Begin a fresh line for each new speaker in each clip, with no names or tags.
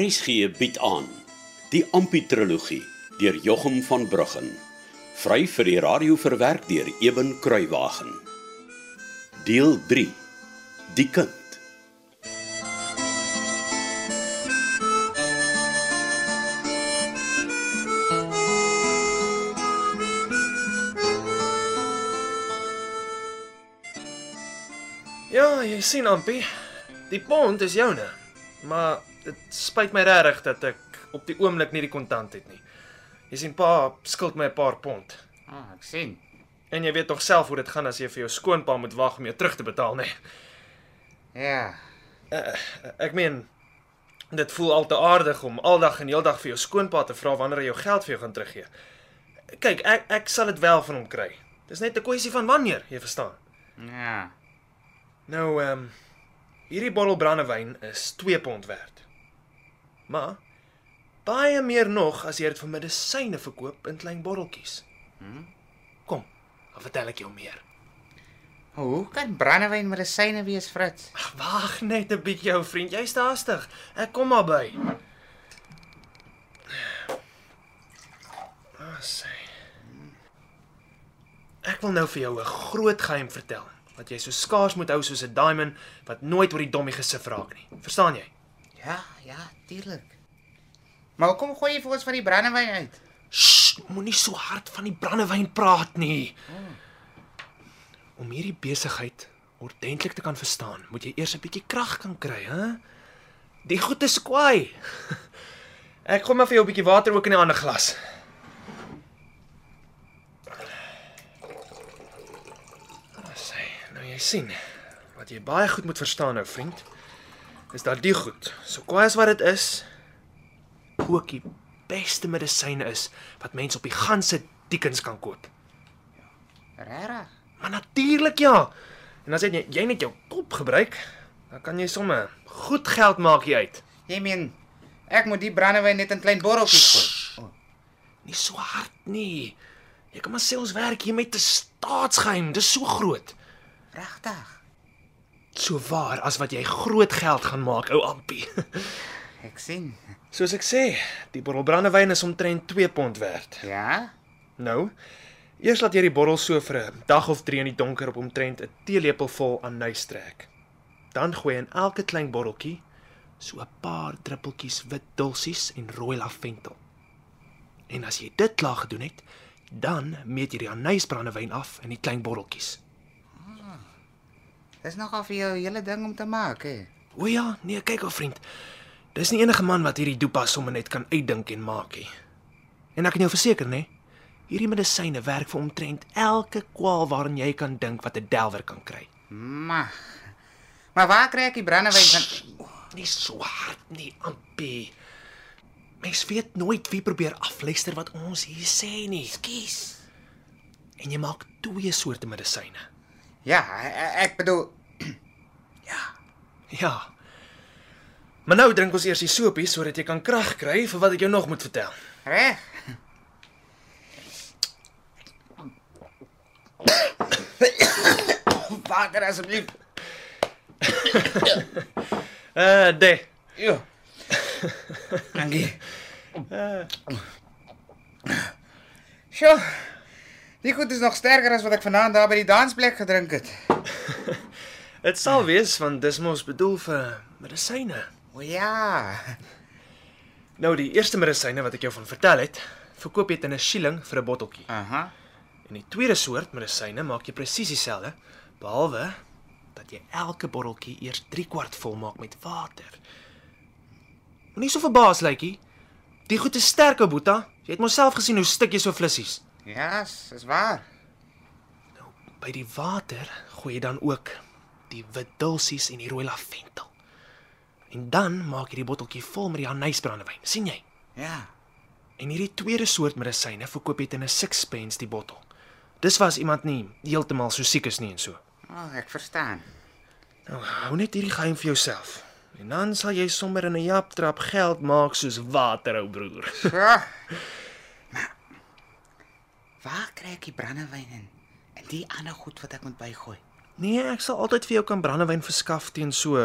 RSG bied aan die Amputrologie deur Jochum van Bruggen vry vir die radio verwerk deur Eben Kruiwagen deel 3 die kind
Ja, jy sien Ampie, die pond is joune. Maar dit spyt my regtig dat ek op die oomblik nie die kontant het nie. Jy sien pa skuld my 'n paar pond.
Ah, ek sien.
En jy weet tog self hoe dit gaan as jy vir jou skoonpa moet wag om jou terug te betaal, nê?
Ja.
Ek meen dit voel al te aardig om aldag en heeldag vir jou skoonpa te vra wanneer hy jou geld vir jou gaan teruggee. Kyk, ek ek sal dit wel van hom kry. Dis net 'n kwessie van wanneer, jy verstaan.
Ja.
Nou ehm um, hierdie bottel brandewyn is 2 pond werd. Maar baie meer nog as jy dit vir medisyne verkoop in klein botteltjies. Kom, dan vertel ek jou meer.
Hoe kan brandewyn medisyne wees, Fritz?
Ag, wag net 'n bietjie, ou vriend, jy's te haastig. Ek kom maar by. Ah, sê. Ek wil nou vir jou 'n groot geheim vertel wat jy so skaars moet hou soos 'n diamond wat nooit oor die dommie gesif raak nie. Verstaan jy?
Ja, ja, tuurlik. Maar hoekom gooi jy vir ons van die brandewyn uit?
Sst, moenie so hard van die brandewyn praat nie. Om hierdie besigheid ordentlik te kan verstaan, moet jy eers 'n bietjie krag kan kry, hè? Die goed is kwaai. Ek gooi maar vir jou 'n bietjie water ook in 'n ander glas. Sê, nou jy sien, wat jy baie goed moet verstaan nou, vriend, is dat die goed, so kwaai as wat dit is, ook die beste medisyne is wat mens op die ganse dikkens kan koop.
Regtig?
Maar natuurlik ja. En as jy jy net jou kop gebruik, dan kan jy sommer goed geld maak hier uit.
Jy meen ek moet die brandewyn net in klein botteltjies gooi.
Nie so hard nie. Jy kan maar sê ons werk hier met 'n staatsgeheim, dis so groot.
Regtig?
So waar as wat jy groot geld gaan maak, ou Ampie.
Ek sien.
Soos ek sê, die bottel brandewyn is omtrent 2 pond werd.
Ja.
Nou, eers laat jy die bottel so vir 'n dag of 3 in die donker op omtrent 'n teelepel vol anys trek. Dan gooi jy in elke klein botteltjie so 'n paar druppeltjies wit dulsies en rooi laventel. En as jy dit klaar gedoen het, dan meet jy die anysbrandewyn af in die klein botteltjies.
Dis nogal vir jou 'n hele ding om te maak, hè.
O ja, nee, kyk ou vriend. Dis nie enige man wat hierdie dopa sommer net kan uitdink en maak nie. En ek kan jou verseker, nê, hierdie medisyne werk vir omtrent elke kwaal waaraan jy kan dink wat 'n delwer kan kry.
Maar Maar waar kry ek die brandewyn van?
Nie so hard nie, Ampie. Mens weet nooit wie probeer afluister wat ons hier sê nie.
Kies.
En jy maak twee soorte medisyne.
Ja, e- e- ek bedoel
Ja. Maar nou drink ons eers die soopie sodat jy kan krag kry vir wat ek jou nog moet vertel.
reg. Water asseblief.
Eh, uh, de.
Ja. Dankie. Eh. Sjoe. Die goed is nog sterker as wat ek vanaand daar by die dansplek gedrink het.
Dit sal wees want dis mos bedoel vir medisyne.
O Oh ja.
Nou die eerste medisyne wat ek jou van vertel het, verkoop jy teen 'n shilling vir 'n botteltjie.
Aha.
En die tweede soort medisyne maak jy presies dieselfde, behalwe dat jy elke botteltjie eers 3 kwart vol maak met water. Moenie so verbaas lykie. Die goed is sterk, ou Boeta. Jy het mos self gesien hoe stik jy so vlissies.
Ja, yes, is waar.
By die water gooi jy dan ook die wit dulsies en die rooi laventel. En dan maak jy die botteltjie vol met die anysbrandewyn, sien jy?
Ja.
En hierdie tweede soort medisyne verkoop jy teen 'n 6 pence die bottel. Dis was iemand nie heeltemal so siek is nie en so.
O, oh, ek verstaan.
Nou, hou net hierdie geheim vir jouself. En dan sal jy sommer in 'n japtrap geld maak soos water, ou broer.
So. maar waar kry ek die brandewyn in? En die ander goed wat ek moet bygooi.
Nee, ek sal altyd vir jou kan brandewyn verskaf teen so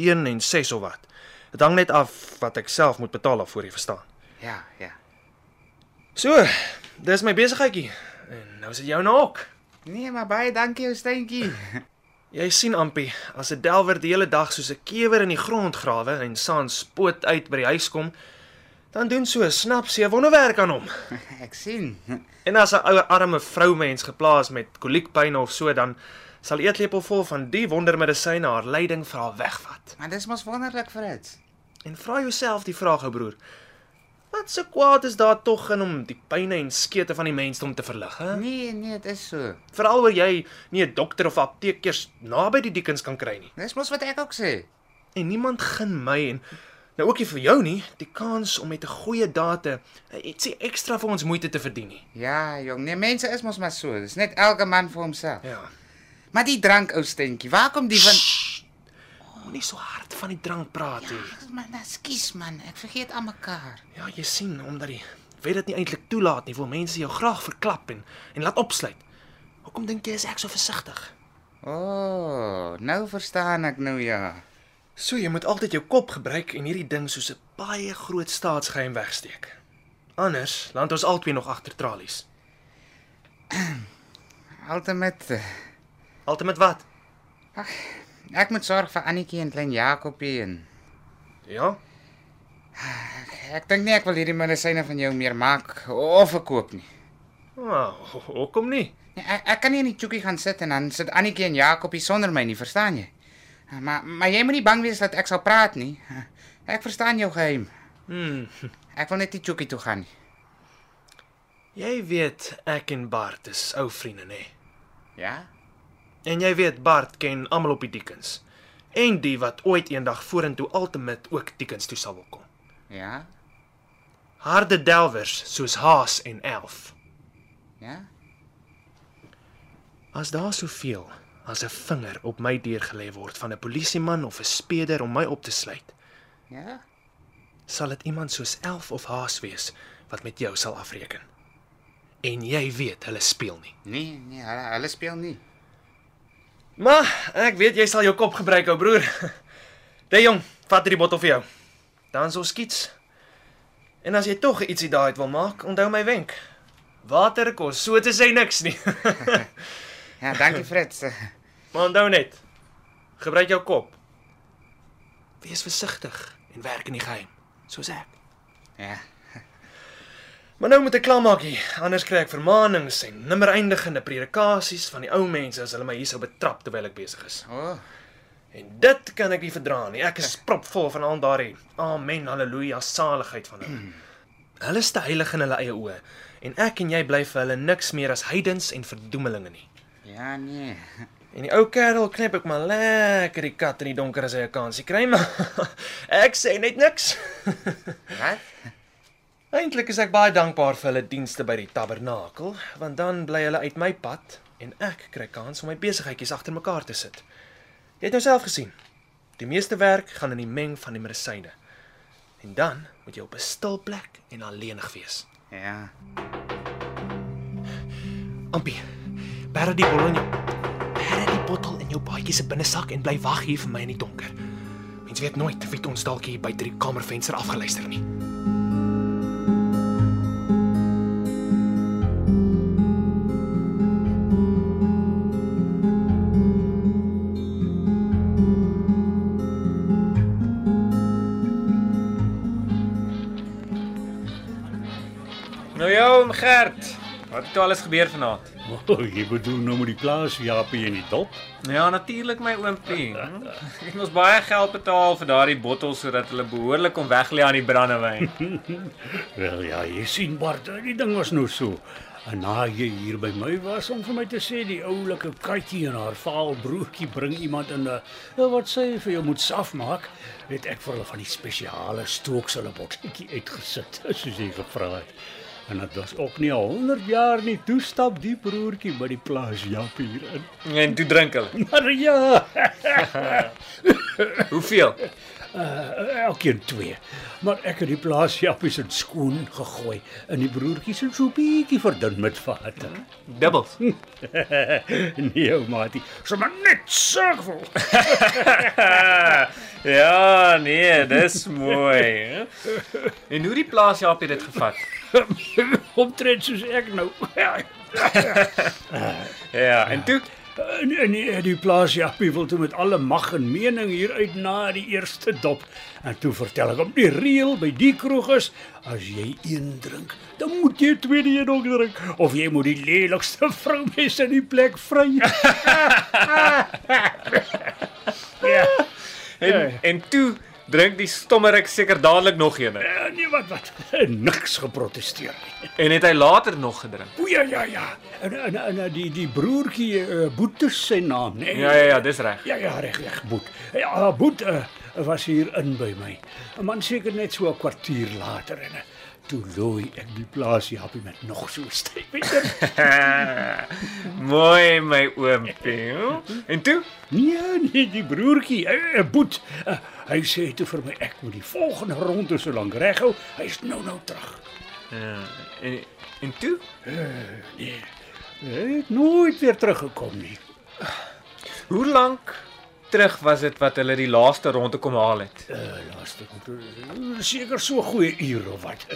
1 en 6 of wat. Dit hang net af wat ek self moet betaal daarvoor, jy verstaan.
Ja, ja.
So, dis my besigheidjie en nou is dit jou naak.
Nee, maar baie dankie ou steentjie.
Jy sien Ampie, as 'n delwer die hele dag soos 'n kewer in die grond grawe en saans spoot uit by die huis kom, dan doen so 'n snapsie 'n wonderwerk aan hom.
Ek sien.
En as 'n ouer arme vroumens geplaas met koliekpyn of so, dan sal eetlepel vol van die wondermedisyne haar lyding vir haar wegvat.
Maar dis mos wonderlik vir dit.
En vra jouself die vraag, ou broer, wat se so kwaad is daar tog in om die pyne en skete van die mensdom te verlig, hè?
Nee, nee, dit is so.
Veral waar jy nie 'n dokter of apteekers naby die diekens kan kry nie.
Dis mos wat ek ook sê.
en niemand gun my en nou ook nie vir jou nie die kans om met 'n goeie date ietsie ekstra vir ons moeite te verdien nie.
Ja, jong, nee, mense is mos maar so. Dis net elke man vir homself.
Ja.
Maar die drank ou steentjie, waar kom die van?
Sst, Moenie so hard van die drank praat nie.
Ag, Man, nou skies man, ek vergeet aan mekaar.
Ja, jy sien omdat die wet dit nie eintlik toelaat nie, wil mense jou graag verklap en en laat opsluit. Hoekom dink jy is ek so versigtig?
O, oh, nou verstaan ek nou ja.
So jy moet altyd jou kop gebruik en hierdie ding soos 'n baie groot staatsgeheim wegsteek. Anders land ons albei nog agter tralies.
Ultimate. eh,
Altemat wat?
Ek moet sorg vir Annetjie en klein Jakobie en
Ja.
ek dink nie ek wil hierdie medisyne van jou meer maak of verkoop nie.
Nou, oh, hoekom nie?
Nee, Ek, ek kan nie in die chookie gaan sit en dan sit Annetjie en Jakobie sonder my nie, verstaan jy? Maar maar jy moenie bang wees dat ek sal praat nie. Ek verstaan jou geheim.
Hmm.
Ek wil net die chookie toe gaan.
Jy weet ek en Bart is ou vriende, nê?
Ja?
En jy weet Bart ken almal op die Dickens. En die wat ooit eendag vorentoe altemat ook Dickens toe sal wil kom.
Ja?
Harde delwers soos Haas en Elf.
Ja?
As daar soveel as 'n vinger op my deur gelê word van 'n polisieman of 'n speeder om my op te sluit,
Ja?
sal dit iemand soos Elf of Haas wees wat met jou sal afreken. En jy weet hulle speel nie.
Nee, nee, hulle, hulle speel nie.
Maar ek weet jy sal jou kop gebruik, ou broer. Dey jong, vat hierdie bottel vir jou. Dan sou skiets. En as jy tog ietsie daai uit wil maak, onthou my wenk. Water kos so te sê niks nie.
Ja, dankie Fritz.
maar onthou net, gebruik jou kop. Wees versigtig en werk in die geheim, soos ek.
Ja.
Maar nou moet ek klaarmaak hier, anders kry ek vermaanings en nimmer eindigende predikasies van die ou mense as hulle my hier sou betrap terwyl ek besig is.
O, oh,
En dit kan ek nie verdra nie. Ek is propvol van al daardie amen haleluja saligheid van hulle. Hulle is te heilig in hulle eie oë en ek en jy bly vir hulle niks meer as heidens en verdoemelinge nie.
ja nee.
En die ou kerel knip ek maar lekker die kat in die donker as hy 'n kansie kry, maar ek sê net niks.
Wat?
Eintlik is ek baie dankbaar vir hulle dienste by die tabernakel, want dan bly hulle uit my pad en ek kry kans om my besigheidjies agter mekaar te sit. Jy het nou self gesien. Die meeste werk gaan in die meng van die medisyne. En dan moet jy op 'n stil plek en alleenig wees.
Ja.
Ampie, bera die bottel in jou bera die bottel in jou baadjie se binnesak en bly wag hier vir my in die donker. Mens weet nooit wie ons dalk hier buite die kamervenster afgeluister nie.
Nou ja, oom Gert. Wat het alles gebeur vanaand?
Oh, jy bedoel nou met die plaas Japie en die dop?
Ja, natuurlik my oompie. Hm? Ek het ons baie geld betaal vir daardie bottels sodat hulle behoorlik kon weglê aan die brandewyn.
Wel ja, jy sien Bart, die ding was nou so. En na jy hier by my was om vir my te sê die oulike katjie en haar vaal broertjie bring iemand in 'n uh, wat sê vir jou moet saf maak, het ek vir hulle van die spesiale stooksele botteltjie uitgesit soos jy gevra het. En dit was ook nie al 100 jaar nie toe stap die broertjie by die plaas Japie hier in.
En toe drink hulle.
Maar ja,
Hoeveel?
Uh, elkeen 2. Maar ek het die plaas jappies in skoon gegooi en die broertjies het so bietjie verdun met vate.
Hm?
Dubbels.
nee, ou maatie, sommer net sorgvol.
ja, nee, dis mooi. hè? En hoe die plaas Japie dit gevat?
Omtrent soos ek nou.
Ja, en toe
En en die, en Eh, nee, die plaas jappie wil toe met alle mag en mening hier uit na die eerste dop. En toe vertel ek hom die reël by die kroeg is, as jy een drink, dan moet jy tweede een ook drink of jy moet die lelikste vrou wees in die plek vry. ja.
en, en toe drink die stommerik seker dadelik nog een
Eh, Nee, wat wat. Niks geprotesteer nie.
en het hy later nog gedrink.
O ja ja ja. En en, en die die broertjie uh, Boeter sy naam, nee.
Ja ja ja, dis reg.
Ja ja, reg reg, Boet. Ja, Boet uh, was hier in by my. 'n Man seker net so 'n kwartier later en eh, toe looi ek die plaas Jappie met nog so 'n styf.
mooi my oompie. hè? En toe
nee, nee, die broertjie, uh, Boet, uh, hy sê toe vir my ek moet die volgende ronde so lank reghou. Hy's nou nou terug.
ja, en en toe
Hy het nooit weer teruggekom nie.
hoe lank terug was dit wat hulle die laaste ronde kom haal het?
Uh, laaste eh, seker so 'n goeie uur of wat.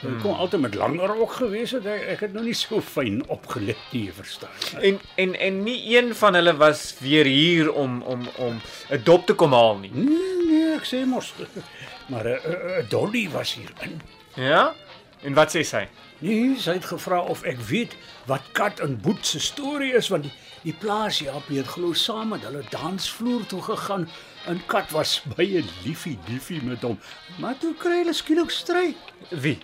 Hmm. Kom altyd met langer ook gewees het. Ek ek het nog nie so fyn opgelet nie, jy verstaan.
En en en nie een van hulle was weer hier om om om 'n dop te kom haal nie.
Nee, nee, ek sê mos. Maar eh, eh, eh, Dolly was hier in.
Ja? En wat sê sy?
Nee, sy het gevra of ek weet wat Kat en Boet se storie is want die, die plaas hier op het glo saam met hulle dansvloer toe gegaan en Kat was baie liefie liefie met hom. Maar toe kry hulle skielik stryd.
Wie?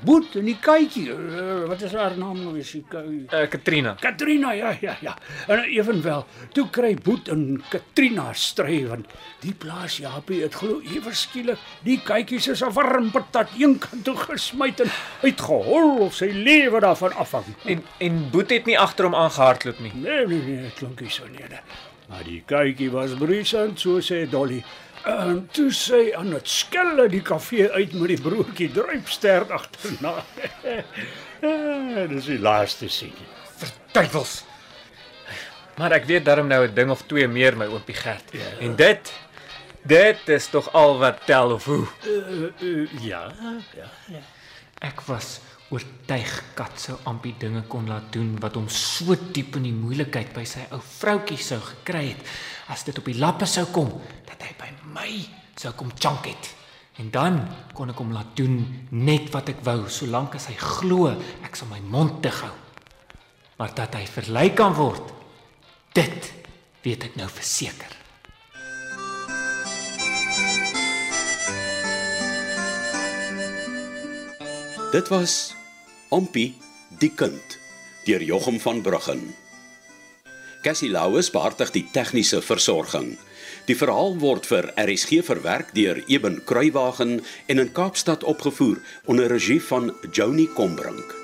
Boet en die katjie, eh, wat is haar naam nou weer? Sy
Eh uh, Katrina.
Katrina, ja, ja, ja. En evenwel, toe kry Boet en Katrina stry want die plaas Japie het glo ewe skielik die kykies is 'n warm patat een kant toe gesmy en uitgehol of sy lewe daarvan afhang.
En en Boet het nie agter hom aangehardloop nie.
Nee, nee, nee, dit klink nie so nie. nee. Maar die kykie was briesend, so sê Dolly. En toe sê aan dit skelle die kafee uit met die broertjie druipster agterna. Eh, Dis die laaste sien.
Duivels. Maar ek weet darm nou 'n ding of twee meer my oompie Gert. Yeah. En dit dit is tog al wat tel of hoe.
Uh, uh, ja, ja.
Ek was oortuig Kat sou amper dinge kon laat doen wat hom so diep in die moeilikheid by sy ou vroutjie sou gekry het as dit op die lappe sou kom dat hy by my sou kom chunk het. En dan kon ek hom laat doen net wat ek wou solank as hy glo ek sal my mond te hou. Maar dat hy verlei kan word, dit weet ek nou verseker.
Dit was Ompie die kind deur Jochum van Bruggen. Cassie Lauers behartig die tegniese versorging. Die verhaal word vir RSG verwerk deur Eben Kruiwagen en in Kaapstad opgevoer onder regie van Joni Combrink.